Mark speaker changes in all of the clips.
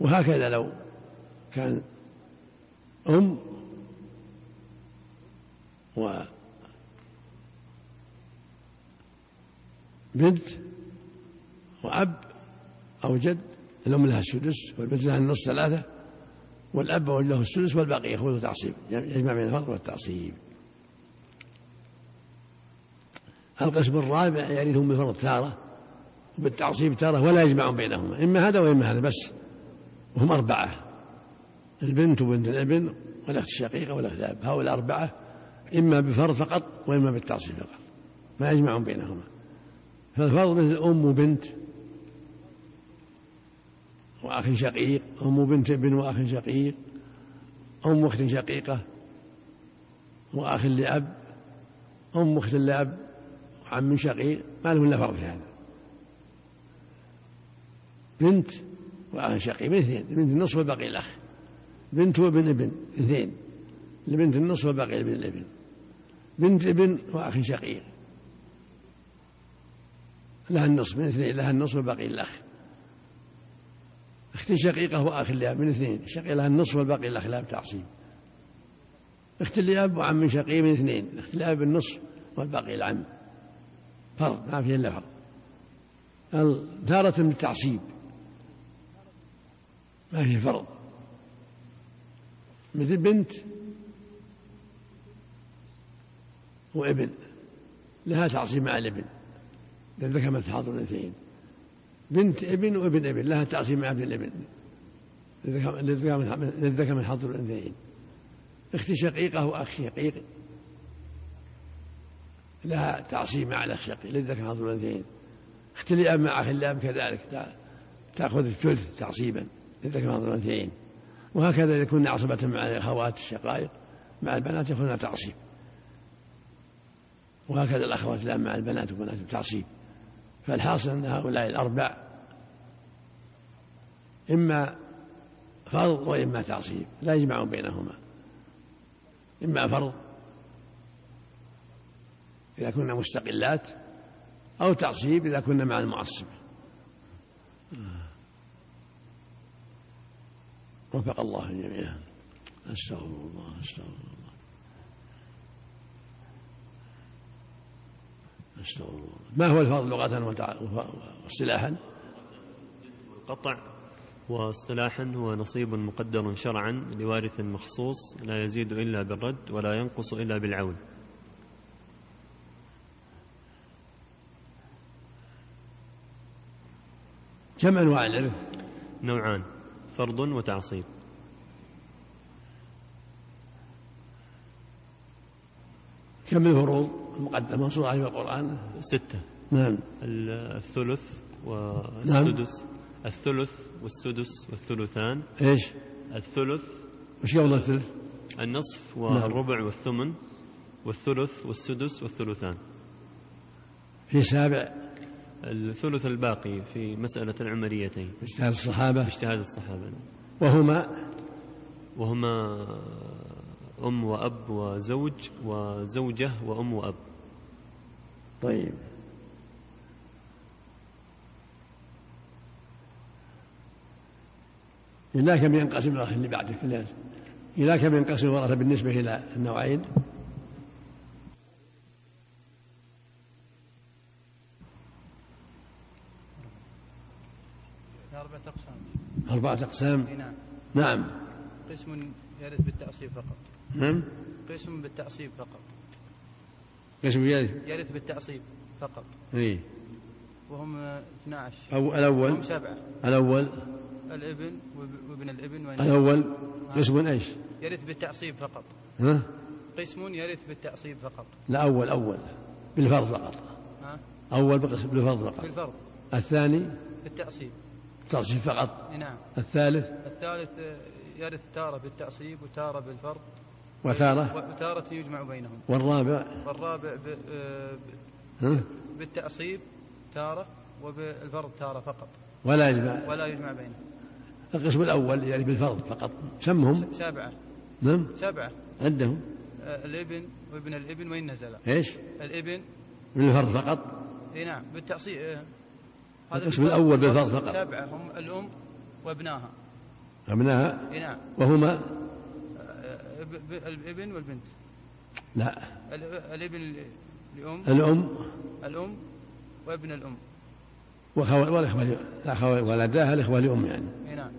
Speaker 1: وهكذا لو كان أم وبنت وأب أو جد الأم لها السدس والبنت لها النص ثلاثة والأب له السدس والباقي يأخذ التعصيب يجمع بين الفرق والتعصيب القسم الرابع يرثهم بالفرض تارة وبالتعصيب تارة ولا يجمعون بينهما إما هذا وإما هذا بس وهم أربعة البنت وبنت الابن والأخت الشقيقة والأخت الأب هؤلاء أربعة إما بفرض فقط وإما بالتعصيب فقط ما يجمعون بينهما فالفرض مثل أم وبنت وأخ شقيق أم وبنت ابن وأخ شقيق أم أخت شقيقة وأخ لأب أم أخت لأب وعم شقيق ما له إلا فرض هذا يعني. بنت وأخ شقيق اثنين بنت النصف وباقي الأخ بنت وابن ابن اثنين لبنت النصف وباقي ابن الابن بنت ابن وأخ شقيق لها النصف من اثنين لها النصف وباقي الأخ اخت شقيقة وأخ لأب من اثنين شقيق لها النصف والباقي الأخ لها بتعصيب اخت لأب وعم شقيق من اثنين اخت لأب النصف والباقي العم فرض ما فيه إلا فرض تارة بالتعصيب ما فيه فرض مثل بنت وابن لها تعصيب مع الابن لأن ذكر ما تحاضر الاثنين بنت ابن وابن ابن لها تعصيب مع ابن الابن للذكر من حظ الانثيين اخت شقيقه واخ شقيق لها تعصيب مع الاخ شقيق للذكر من حظ الانثيين اخت الاب مع اخ الاب كذلك تاخذ الثلث تعصيبا للذكر من حظ الانثيين وهكذا اذا كنا عصبة مع الاخوات الشقائق مع البنات ياخذون تعصيب وهكذا الاخوات الان مع البنات والبنات تعصيب فالحاصل أن هؤلاء الأربع إما فرض وإما تعصيب لا يجمعون بينهما إما فرض إذا كنا مستقلات أو تعصيب إذا كنا مع المعصب وفق الله جميعا أستغفر الله أستغفر الله ما هو الفرض لغة واصطلاحا؟
Speaker 2: القطع واصطلاحا هو نصيب مقدر شرعا لوارث مخصوص لا يزيد إلا بالرد ولا ينقص إلا بالعون
Speaker 1: كم أنواع العرف؟
Speaker 2: نوعان فرض وتعصيب
Speaker 1: كم الفروض؟ مقدمة صورة في القرآن
Speaker 2: ستة
Speaker 1: نعم
Speaker 2: الثلث والسدس نعم. الثلث والسدس والثلثان
Speaker 1: ايش؟
Speaker 2: الثلث
Speaker 1: وش قبل الثلث؟
Speaker 2: النصف والربع نعم. والثمن والثلث والسدس والثلثان
Speaker 1: في سابع
Speaker 2: الثلث الباقي في مسألة العمريتين
Speaker 1: اجتهاد الصحابة
Speaker 2: اجتهاد الصحابة
Speaker 1: وهما
Speaker 2: وهما أم وأب وزوج وزوجة وأم وأب
Speaker 1: طيب إلى كم ينقسم الأخ اللي بعده إلى كم ينقسم الورثة بالنسبة إلى النوعين
Speaker 3: أربعة أقسام
Speaker 1: أربعة أقسام
Speaker 3: نعم
Speaker 1: نعم
Speaker 3: قسم يرث بالتعصيب فقط
Speaker 1: نعم
Speaker 3: قسم بالتعصيب فقط
Speaker 1: قسم يرث
Speaker 3: يرث بالتعصيب فقط
Speaker 1: إيه
Speaker 3: وهم 12
Speaker 1: أو الأول
Speaker 3: هم سبعة
Speaker 1: الأول
Speaker 3: الابن وب- وابن الابن وابن
Speaker 1: الأول قسم ايش؟
Speaker 3: يرث بالتعصيب فقط
Speaker 1: ها؟
Speaker 3: قسم يرث بالتعصيب فقط
Speaker 1: لا أول أول بالفرض فقط
Speaker 3: ها
Speaker 1: أول بقسم بالفرض فقط
Speaker 3: بالفرض
Speaker 1: الثاني
Speaker 3: بالتعصيب
Speaker 1: تعصيب فقط
Speaker 3: نعم
Speaker 1: الثالث
Speaker 3: الثالث آه، يرث تارة بالتعصيب وتارة بالفرض
Speaker 1: وتارة
Speaker 3: وتارة يجمع بينهم
Speaker 1: والرابع
Speaker 3: والرابع ب- آه، ب-
Speaker 1: ها؟
Speaker 3: بالتعصيب تارة وبالفرض تارة فقط
Speaker 1: ولا يجمع
Speaker 3: ولا يجمع بينهم
Speaker 1: القسم الأول يعني بالفرض فقط سمهم
Speaker 3: سبعة
Speaker 1: نعم
Speaker 3: سبعة
Speaker 1: عندهم
Speaker 3: آه، الابن وابن الابن وإن نزل
Speaker 1: ايش؟
Speaker 3: الابن
Speaker 1: بالفرض فقط
Speaker 3: اي نعم بالتعصيب آه،
Speaker 1: القسم الأول بالفرض فقط.
Speaker 3: سبعة هم الأم وابناها
Speaker 1: أبناء
Speaker 3: إي نعم
Speaker 1: وهما
Speaker 3: آه، ب- ب- الابن والبنت
Speaker 1: لا
Speaker 3: ال- الابن ل- لأم
Speaker 1: الأم
Speaker 3: الأم وابن الأم
Speaker 1: وخو... والإخوة ل- الأخوة- ولداها الإخوة لأم يعني
Speaker 3: إي نعم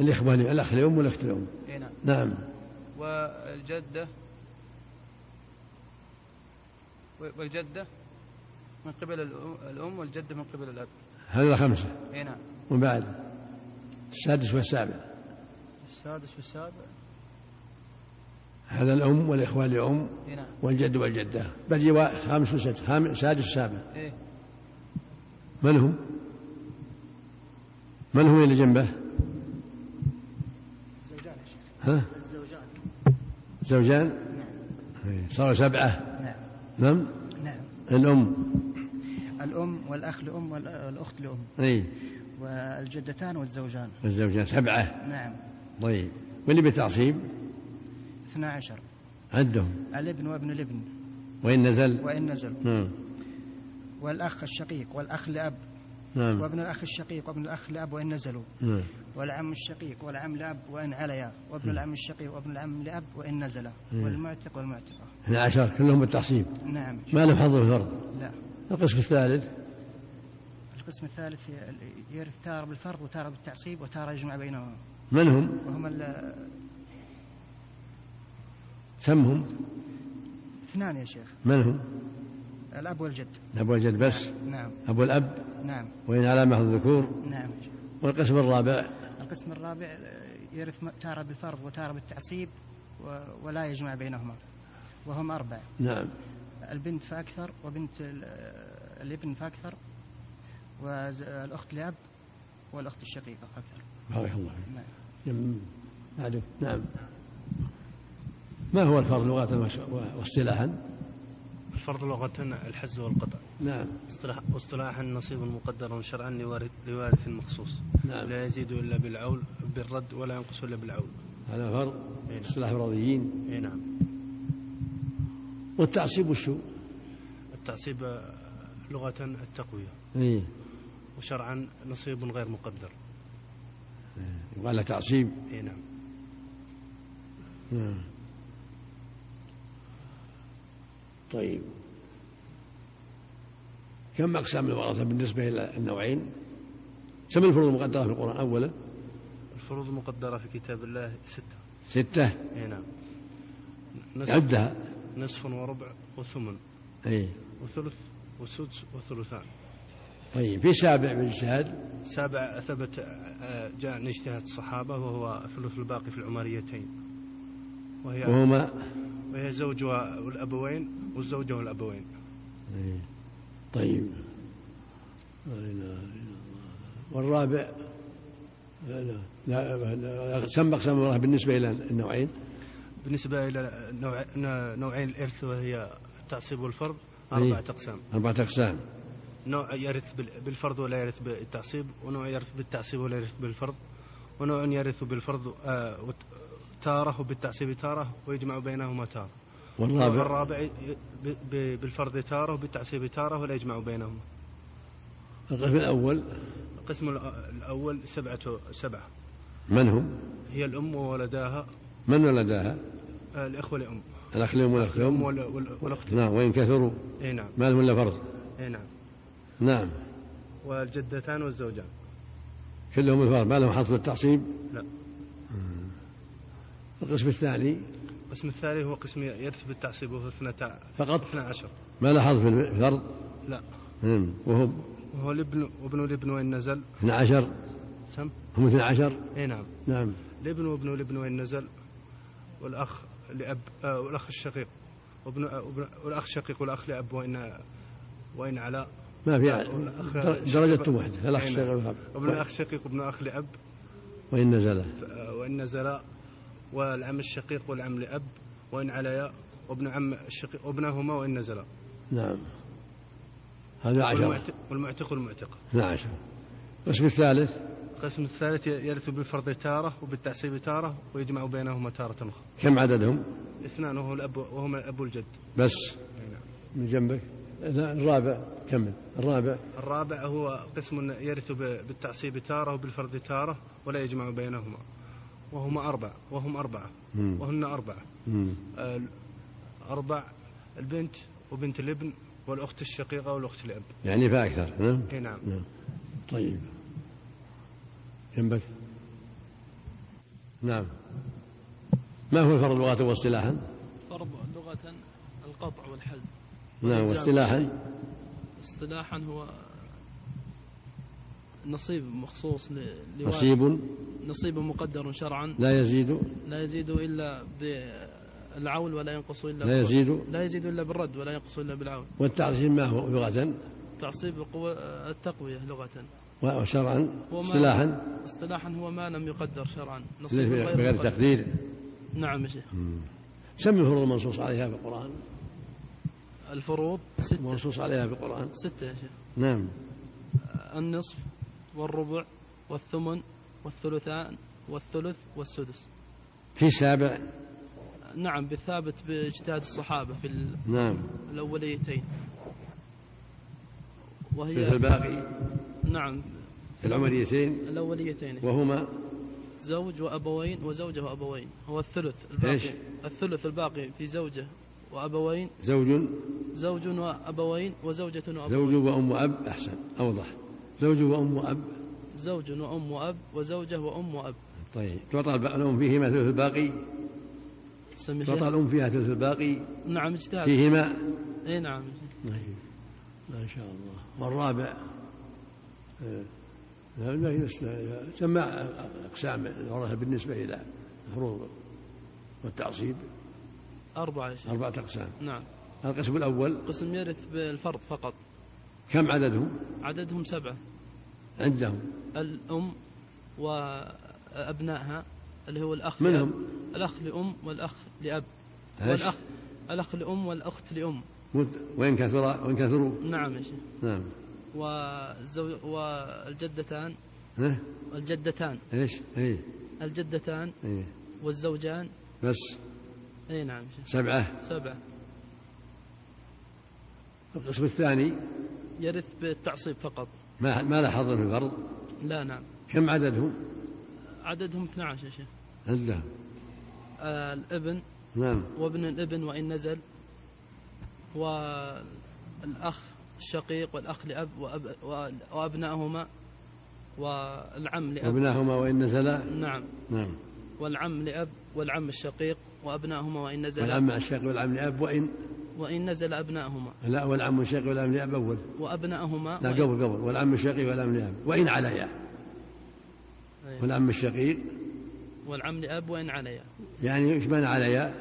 Speaker 1: الإخوة ل- الأخ لأم والأخت لأم
Speaker 3: إي نعم
Speaker 1: نعم
Speaker 3: والجدة والجدة من قبل الأم- الأم والجدة من قبل الأب
Speaker 1: هذول خمسة
Speaker 3: إي نعم
Speaker 1: وبعد السادس والسابع
Speaker 3: السادس والسابع
Speaker 1: هذا الأم والإخوة لأم
Speaker 3: إي نعم
Speaker 1: والجد والجدة بقي وا- خامس وسادس خامس- سادس وسابع
Speaker 3: إيه
Speaker 1: من هم؟ من هم اللي جنبه؟
Speaker 4: الزوجان يا شيخ
Speaker 1: ها؟
Speaker 4: الزوجان
Speaker 1: زوجان؟
Speaker 4: نعم
Speaker 1: إيه، صاروا سبعة
Speaker 4: نعم
Speaker 1: نعم؟
Speaker 4: نعم
Speaker 1: الأم
Speaker 4: الأم والأخ لأم والأخت لأم
Speaker 1: أي
Speaker 4: والجدتان والزوجان
Speaker 1: الزوجان سبعة
Speaker 4: نعم
Speaker 1: طيب واللي بتعصيب
Speaker 4: 12
Speaker 1: عدهم
Speaker 4: الابن وابن الابن
Speaker 1: وإن نزل
Speaker 4: وإن نزلوا
Speaker 1: نعم
Speaker 4: والأخ الشقيق والأخ لأب
Speaker 1: نعم
Speaker 4: وابن الأخ الشقيق وابن الأخ لأب وإن نزلوا
Speaker 1: نعم
Speaker 4: والعم الشقيق والعم لأب وإن عليا وابن العم الشقيق وابن العم لأب وإن نزلا والمعتق والمعتقة
Speaker 1: 12 كلهم بالتعصيب
Speaker 4: نعم
Speaker 1: ما له حظ في الفرض
Speaker 4: لا
Speaker 1: القسم الثالث
Speaker 4: القسم الثالث ي- يرث تارة بالفرض وتارة بالتعصيب وتارة يجمع بينهما
Speaker 1: من هم؟
Speaker 4: وهم ال-
Speaker 1: سمهم
Speaker 4: اثنان يا شيخ
Speaker 1: من هم؟
Speaker 4: الأب والجد
Speaker 1: الأب والجد بس
Speaker 4: نعم
Speaker 1: أبو الأب
Speaker 4: نعم
Speaker 1: وإن على محض الذكور
Speaker 4: نعم
Speaker 1: والقسم الرابع
Speaker 4: القسم الرابع آه، يرث م- تارة بالفرض وتارة بالتعصيب و- ولا يجمع بينهما وهم أربع
Speaker 1: نعم
Speaker 4: البنت فأكثر وبنت ال- آه، الابن فأكثر والأخت لأب والأخت الشقيقة أكثر
Speaker 1: بارك الله فيك
Speaker 4: نعم.
Speaker 1: يم- بعده. نعم ما هو الفرض لغة وش- واصطلاحا؟
Speaker 5: الفرض لغة الحز والقطع
Speaker 1: نعم
Speaker 5: اصطلاح- واصطلاحا نصيب مقدر شرعا لوارث لوارث مخصوص
Speaker 1: نعم
Speaker 5: لا يزيد إلا بالعول بالرد ولا ينقص إلا بالعول
Speaker 1: هذا فرض
Speaker 5: أي نعم.
Speaker 1: اصطلاح الرضيين
Speaker 5: أي نعم
Speaker 1: والتعصيب وشو؟
Speaker 5: التعصيب آه، لغة التقوية
Speaker 1: ايه
Speaker 5: وشرعا نصيب غير مقدر
Speaker 1: يقال له تعصيب
Speaker 5: أي نعم
Speaker 1: نعم طيب كم أقسام الورثة بالنسبة إلى النوعين؟ سم الفروض المقدرة في القرآن أولا
Speaker 5: الفروض المقدرة في كتاب الله ستة
Speaker 1: ستة
Speaker 5: أي نعم نصف,
Speaker 1: عدها إيه.
Speaker 5: نصف وربع وثمن
Speaker 1: أي
Speaker 5: وثلث وسدس وثلثان
Speaker 1: طيب في سابع بالاجتهاد
Speaker 5: سابع ثبت آه، جاء عن اجتهاد الصحابة وهو ثلث الباقي في العمريتين وهي
Speaker 1: وهما
Speaker 5: وهي زوجها والأبوين والزوجة والأبوين
Speaker 1: أي. طيب لا إله إلا الله. والرابع لا لا لا- لا سم أقسام الورثة بالنسبة إلى النوعين
Speaker 5: بالنسبة إلى نوع نوعين الإرث وهي التعصيب والفرض
Speaker 1: أي.
Speaker 5: أربعة أقسام
Speaker 1: أربعة أقسام
Speaker 5: نوع يرث بال- بالفرض ولا يرث بالتعصيب ونوع يرث بالتعصيب ولا يرث بالفرض ونوع يرث بالفرض آه، وت- تارة وبالتعصيب تارة ويجمع بينهما تارة
Speaker 1: والرابع
Speaker 5: والرابع ي- ب- ب- بالفرض تارة وبالتعصيب تارة ولا يجمع بينهما
Speaker 1: القسم الأول
Speaker 5: القسم الأ- الأول سبعة سبعة
Speaker 1: من هم؟
Speaker 5: هي الأم وولداها
Speaker 1: من ولداها؟
Speaker 5: آه، الإخوة لأم
Speaker 1: الأخ لهم والأخ
Speaker 5: الأم
Speaker 1: لهم
Speaker 5: وال- وال- والأخت
Speaker 1: نعم وإن كثروا
Speaker 5: اي نعم
Speaker 1: ما لهم إلا فرض
Speaker 5: اي نعم
Speaker 1: نعم
Speaker 5: والجدتان والزوجان
Speaker 1: كلهم الفرض ما لهم حظ في التعصيب
Speaker 5: لا.
Speaker 1: مم. القسم الثاني
Speaker 5: القسم الثالث هو قسم يرث بالتعصيب وهو اثنتا
Speaker 1: فقط
Speaker 5: اثنا عشر
Speaker 1: ما له حظ في الفرض
Speaker 5: لا
Speaker 1: مم. وهم
Speaker 5: وهو الابن وابن الابن وان نزل
Speaker 1: 12
Speaker 5: سم
Speaker 1: هم 12
Speaker 5: اي نعم
Speaker 1: نعم
Speaker 5: الابن وابن الابن وان نزل والاخ لاب آه والاخ الشقيق وابن آه وابن- والاخ الشقيق والاخ لاب وان وان على
Speaker 1: ما في
Speaker 5: والأخ-
Speaker 1: در- درجة واحدة الأخ
Speaker 5: أي نعم.
Speaker 1: الشقيق
Speaker 5: وابن
Speaker 1: والأخ
Speaker 5: الاخ الشقيق وابن اخ لاب
Speaker 1: وإن نزل
Speaker 5: آه، وان نزل والعم الشقيق والعم لاب وان عليا وابن عم الشقيق وابنهما وان نزلا
Speaker 1: نعم هذا 10
Speaker 5: والمعتق- والمعتق والمعتقه
Speaker 1: 12 القسم الثالث
Speaker 5: القسم الثالث يرث بالفرض تارة وبالتعصيب تارة ويجمع بينهما تارة أخرى
Speaker 1: كم عددهم
Speaker 5: اثنان وهو الأب وهما الأب والجد
Speaker 1: بس من جنبك لا، الرابع كمل الرابع
Speaker 5: الرابع هو قسم يرث ب- بالتعصيب تارة وبالفرض تارة ولا يجمع بينهما وهما أربع وهم أربعة
Speaker 1: مم.
Speaker 5: وهن أربعة
Speaker 1: مم.
Speaker 5: آه، أربع البنت وبنت الابن والأخت الشقيقة والأخت الأب
Speaker 1: يعني فأكثر نعم
Speaker 5: أي نعم
Speaker 1: نعم طيب جنبك نعم ما هو الفرق لغة واصطلاحا؟
Speaker 6: الفرض لغة القطع والحز
Speaker 1: نعم واصطلاحا
Speaker 6: اصطلاحا هو نصيب مخصوص ل- لوالد
Speaker 1: نصيب
Speaker 6: نصيب مقدر شرعا
Speaker 1: لا يزيد
Speaker 6: لا يزيد إلا بالعول ولا ينقص إلا
Speaker 1: لا
Speaker 6: بالرد.
Speaker 1: يزيد
Speaker 6: لا يزيد إلا بالرد ولا ينقص إلا بالعول
Speaker 1: والتعصيب ما هو لغة
Speaker 6: تعصيب قوة التقوية لغة
Speaker 1: وشرعا
Speaker 6: وما-
Speaker 1: اصطلاحا
Speaker 6: اصطلاحا هو ما لم يقدر شرعا
Speaker 1: الذي
Speaker 6: نصيب غير
Speaker 1: بغير
Speaker 6: مقدر.
Speaker 1: تقدير
Speaker 6: نعم يا شيخ
Speaker 1: سمي الفروض المنصوص عليها في القرآن
Speaker 6: الفروض ستة
Speaker 1: المنصوص عليها في القرآن
Speaker 6: ستة يا شيخ
Speaker 1: نعم
Speaker 6: النصف والربع والثمن والثلثان والثلث والسدس
Speaker 1: في سابع
Speaker 6: نعم بالثابت باجتهاد الصحابة في ال-
Speaker 1: نعم
Speaker 6: الأوليتين
Speaker 1: ثلث
Speaker 6: وهي
Speaker 1: الباقي
Speaker 6: نعم
Speaker 1: في العمريتين
Speaker 6: الأوليتين
Speaker 1: وهما
Speaker 6: زوج وأبوين وزوجة وأبوين هو الثلث الباقي
Speaker 1: إيش؟
Speaker 6: الثلث الباقي في زوجة وأبوين
Speaker 1: زوج
Speaker 6: زوج وأبوين وزوجة وأب
Speaker 1: زوج وأم وأب أحسن أوضح زوج وأم وأب
Speaker 6: زوج وأم وأب وزوجة وأم وأب
Speaker 1: طيب تعطى الب- الأم فيهما ثلث الباقي
Speaker 6: تسمي
Speaker 1: تعطى
Speaker 6: شيء؟
Speaker 1: الأم فيها ثلث الباقي
Speaker 6: نعم اجتهاد
Speaker 1: فيهما
Speaker 6: اي نعم
Speaker 1: طيب ما شاء الله والرابع آه، لا لا يسمى- سمى أقسام الورثة بالنسبة إلى الفروض والتعصيب
Speaker 6: أربعة يا شيخ
Speaker 1: أربعة أقسام
Speaker 6: نعم
Speaker 1: القسم الأول
Speaker 6: قسم يرث بالفرض فقط
Speaker 1: كم عددهم
Speaker 6: عددهم سبعة
Speaker 1: عندهم
Speaker 6: الأم وأبنائها اللي هو الأخ
Speaker 1: من
Speaker 6: لأب.
Speaker 1: هم؟
Speaker 6: الأخ لأم والأخ لأب
Speaker 1: هش؟
Speaker 6: والأخ الأخ لأم والأخت لأم
Speaker 1: مت- وإن كثر وإن كثروا
Speaker 6: نعم يا شيخ
Speaker 1: نعم
Speaker 6: والزوج والجدتان
Speaker 1: ها
Speaker 6: الجدتان
Speaker 1: ايش؟ ايه
Speaker 6: الجدتان
Speaker 1: ايه
Speaker 6: والزوجان
Speaker 1: بس
Speaker 6: اي نعم يا شيخ
Speaker 1: سبعة
Speaker 6: سبعة
Speaker 1: القسم الثاني
Speaker 6: يرث بالتعصيب فقط
Speaker 1: ما ما له حظ في الفرض
Speaker 6: لا نعم
Speaker 1: كم عددهم؟
Speaker 6: عددهم 12 يا شيخ
Speaker 1: عندهم
Speaker 6: آه، الابن
Speaker 1: نعم
Speaker 6: وابن الابن وإن نزل والأخ الشقيق والأخ لأب وأب وأبنائهما والعم لأب
Speaker 1: وابناهما وإن نزلا
Speaker 6: نعم
Speaker 1: نعم
Speaker 6: والعم لأب والعم الشقيق وأبنائهما وإن نزل
Speaker 1: والعم الشقيق والعم لأب وإن
Speaker 6: وإن نزل أبنائهما
Speaker 1: لا والعم الشقيق والعم لأب أول
Speaker 6: وأبنائهما
Speaker 1: لا
Speaker 6: وإن-
Speaker 1: قبل قبل والعم الشقيق والعم لأب وإن عليا
Speaker 6: أيوة.
Speaker 1: والعم الشقيق
Speaker 6: والعم لأب وإن عليا
Speaker 1: يعني ايش معنى عليا؟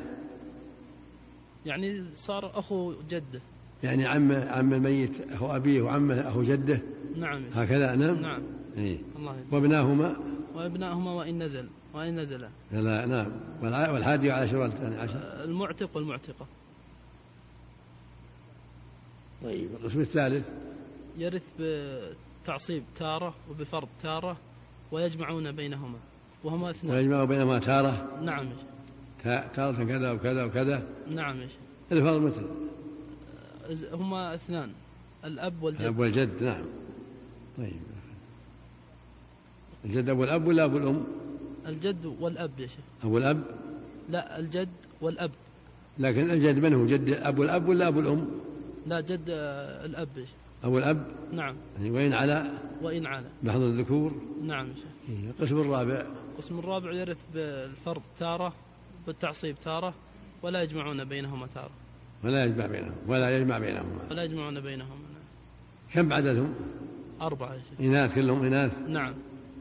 Speaker 6: يعني صار أخو جده
Speaker 1: يعني عم عم الميت أخو أبيه وعمه أخو جده
Speaker 6: نعم
Speaker 1: هكذا نعم؟
Speaker 6: نعم
Speaker 1: إيه
Speaker 6: الله يجزيك.
Speaker 1: وابناهما
Speaker 6: وابنائهما وإن نزل وإن نزل
Speaker 1: لا نعم والع- والحادي عشر والثاني عشر
Speaker 6: المعتق والمعتقة
Speaker 1: طيب القسم الثالث
Speaker 6: يرث بتعصيب تارة وبفرض تارة ويجمعون بينهما وهما اثنان
Speaker 1: ويجمع بينهما تارة
Speaker 6: نعم يا شيخ.
Speaker 1: تا- تارة كذا وكذا وكذا
Speaker 6: نعم يا شيخ.
Speaker 1: الفرض مثل
Speaker 6: إز- هما اثنان الأب والجد
Speaker 1: الأب والجد نعم طيب الجد أبو الأب ولا أبو الأم؟
Speaker 6: الجد والأب يا شيخ
Speaker 1: أبو الأب
Speaker 6: لا الجد والأب
Speaker 1: لكن الجد من هو جد أبو الأب ولا أبو الأم؟
Speaker 6: لا جد آه، الأب يا شيخ
Speaker 1: أبو الأب
Speaker 6: نعم
Speaker 1: يعني وين على
Speaker 6: وإن على
Speaker 1: بحض الذكور
Speaker 6: نعم يا شيخ
Speaker 1: القسم الرابع
Speaker 6: القسم الرابع يرث بالفرض تارة بالتعصيب تارة ولا يجمعون بينهما تارة
Speaker 1: ولا يجمع بينهم ولا يجمع بينهما
Speaker 6: ولا يجمعون بينهما نعم.
Speaker 1: كم عددهم؟
Speaker 6: أربعة يا شيخ
Speaker 1: إناث كلهم إناث
Speaker 6: نعم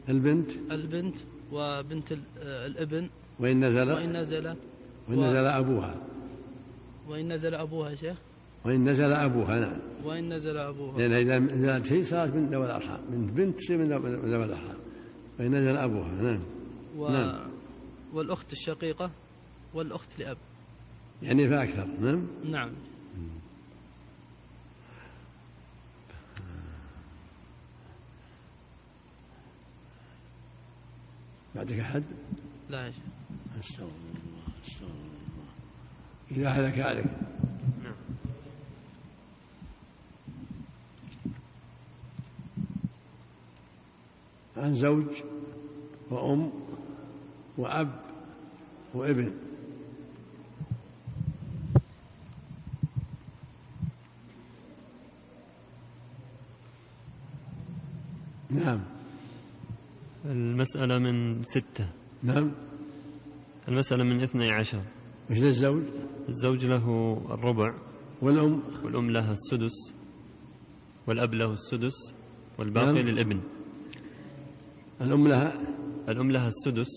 Speaker 1: البنت
Speaker 6: البنت وبنت ال- آه، الابن
Speaker 1: وإن نزل
Speaker 6: وإن نزل
Speaker 1: وإن نزل أبوها
Speaker 6: وإن نزل أبوها يا شيخ
Speaker 1: وإن نزل أبوها نعم
Speaker 6: وإن نزل أبوها
Speaker 1: لأن إذا نزلت هي صارت من ذوي الأرحام من بنت تصير من ذوي من ذوي الأرحام فإن نزل أبوها نعم
Speaker 6: و...
Speaker 1: نعم.
Speaker 6: والأخت الشقيقة والأخت لأب
Speaker 1: يعني فأكثر نعم
Speaker 6: نعم
Speaker 1: بعدك أحد
Speaker 6: لا يا شيخ
Speaker 1: أستغفر الله أستغفر الله إذا هلك عليك
Speaker 2: نعم.
Speaker 1: عن زوج وأم وأب وابن نعم
Speaker 2: المسألة من ستة
Speaker 1: نعم
Speaker 2: المسألة من اثني عشر
Speaker 1: مثل الزوج
Speaker 2: الزوج له الربع
Speaker 1: والأم
Speaker 2: والأم لها السدس والأب له السدس والباقي
Speaker 1: نعم.
Speaker 2: للابن
Speaker 1: الأم لها
Speaker 2: الأم لها السدس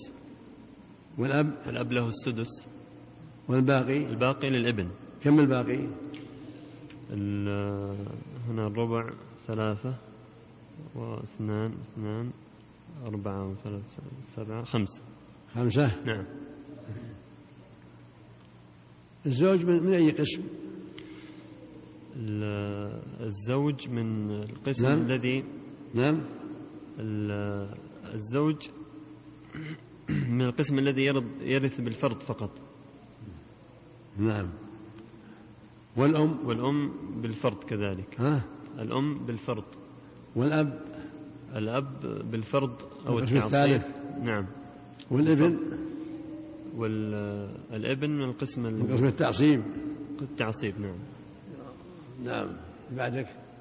Speaker 1: والأب
Speaker 2: والأب له السدس
Speaker 1: والباقي
Speaker 2: الباقي للابن
Speaker 1: كم الباقي
Speaker 2: ال- هنا الربع ثلاثة واثنان اثنان أربعة وثلاثة سبعة خمسة
Speaker 1: خمسة
Speaker 2: نعم
Speaker 1: الزوج من, من أي قسم
Speaker 2: ال- الزوج من القسم
Speaker 1: نعم.
Speaker 2: الذي
Speaker 1: نعم
Speaker 2: ال- الزوج من القسم الذي يرض- يرث بالفرض فقط
Speaker 1: نعم والأم
Speaker 2: والأم بالفرض كذلك
Speaker 1: ها
Speaker 2: الأم بالفرض
Speaker 1: والأب
Speaker 2: الأب بالفرض أو
Speaker 1: القسم
Speaker 2: التعصيب
Speaker 1: الثالث.
Speaker 2: نعم
Speaker 1: والابن
Speaker 2: والابن من القسم
Speaker 1: من قسم التعصيب
Speaker 2: التعصيب نعم
Speaker 1: نعم بعدك